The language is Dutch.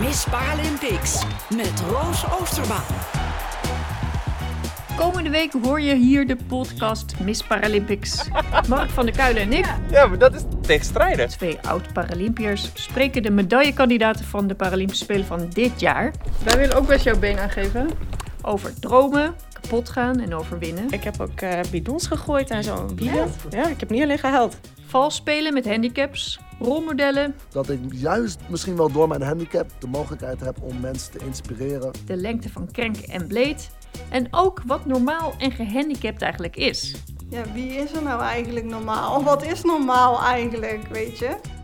Miss Paralympics met Roos Oosterbaan. Komende week hoor je hier de podcast Miss Paralympics. Mark van der Kuilen en ik, Ja, maar dat is tegenstrijdig. twee oud-Paralympiërs, spreken de medaillekandidaten van de Paralympische Spelen van dit jaar Wij willen ook best jouw been aangeven. over dromen, kapot gaan en overwinnen. Ik heb ook eh, bidons gegooid en zo. Wie dat? Ja, ik heb niet alleen gehuild. Vals spelen met handicaps, rolmodellen, dat ik juist misschien wel door mijn handicap de mogelijkheid heb om mensen te inspireren. de lengte van krenk en bleed. En ook wat normaal en gehandicapt eigenlijk is. Ja, wie is er nou eigenlijk normaal? Wat is normaal eigenlijk, weet je?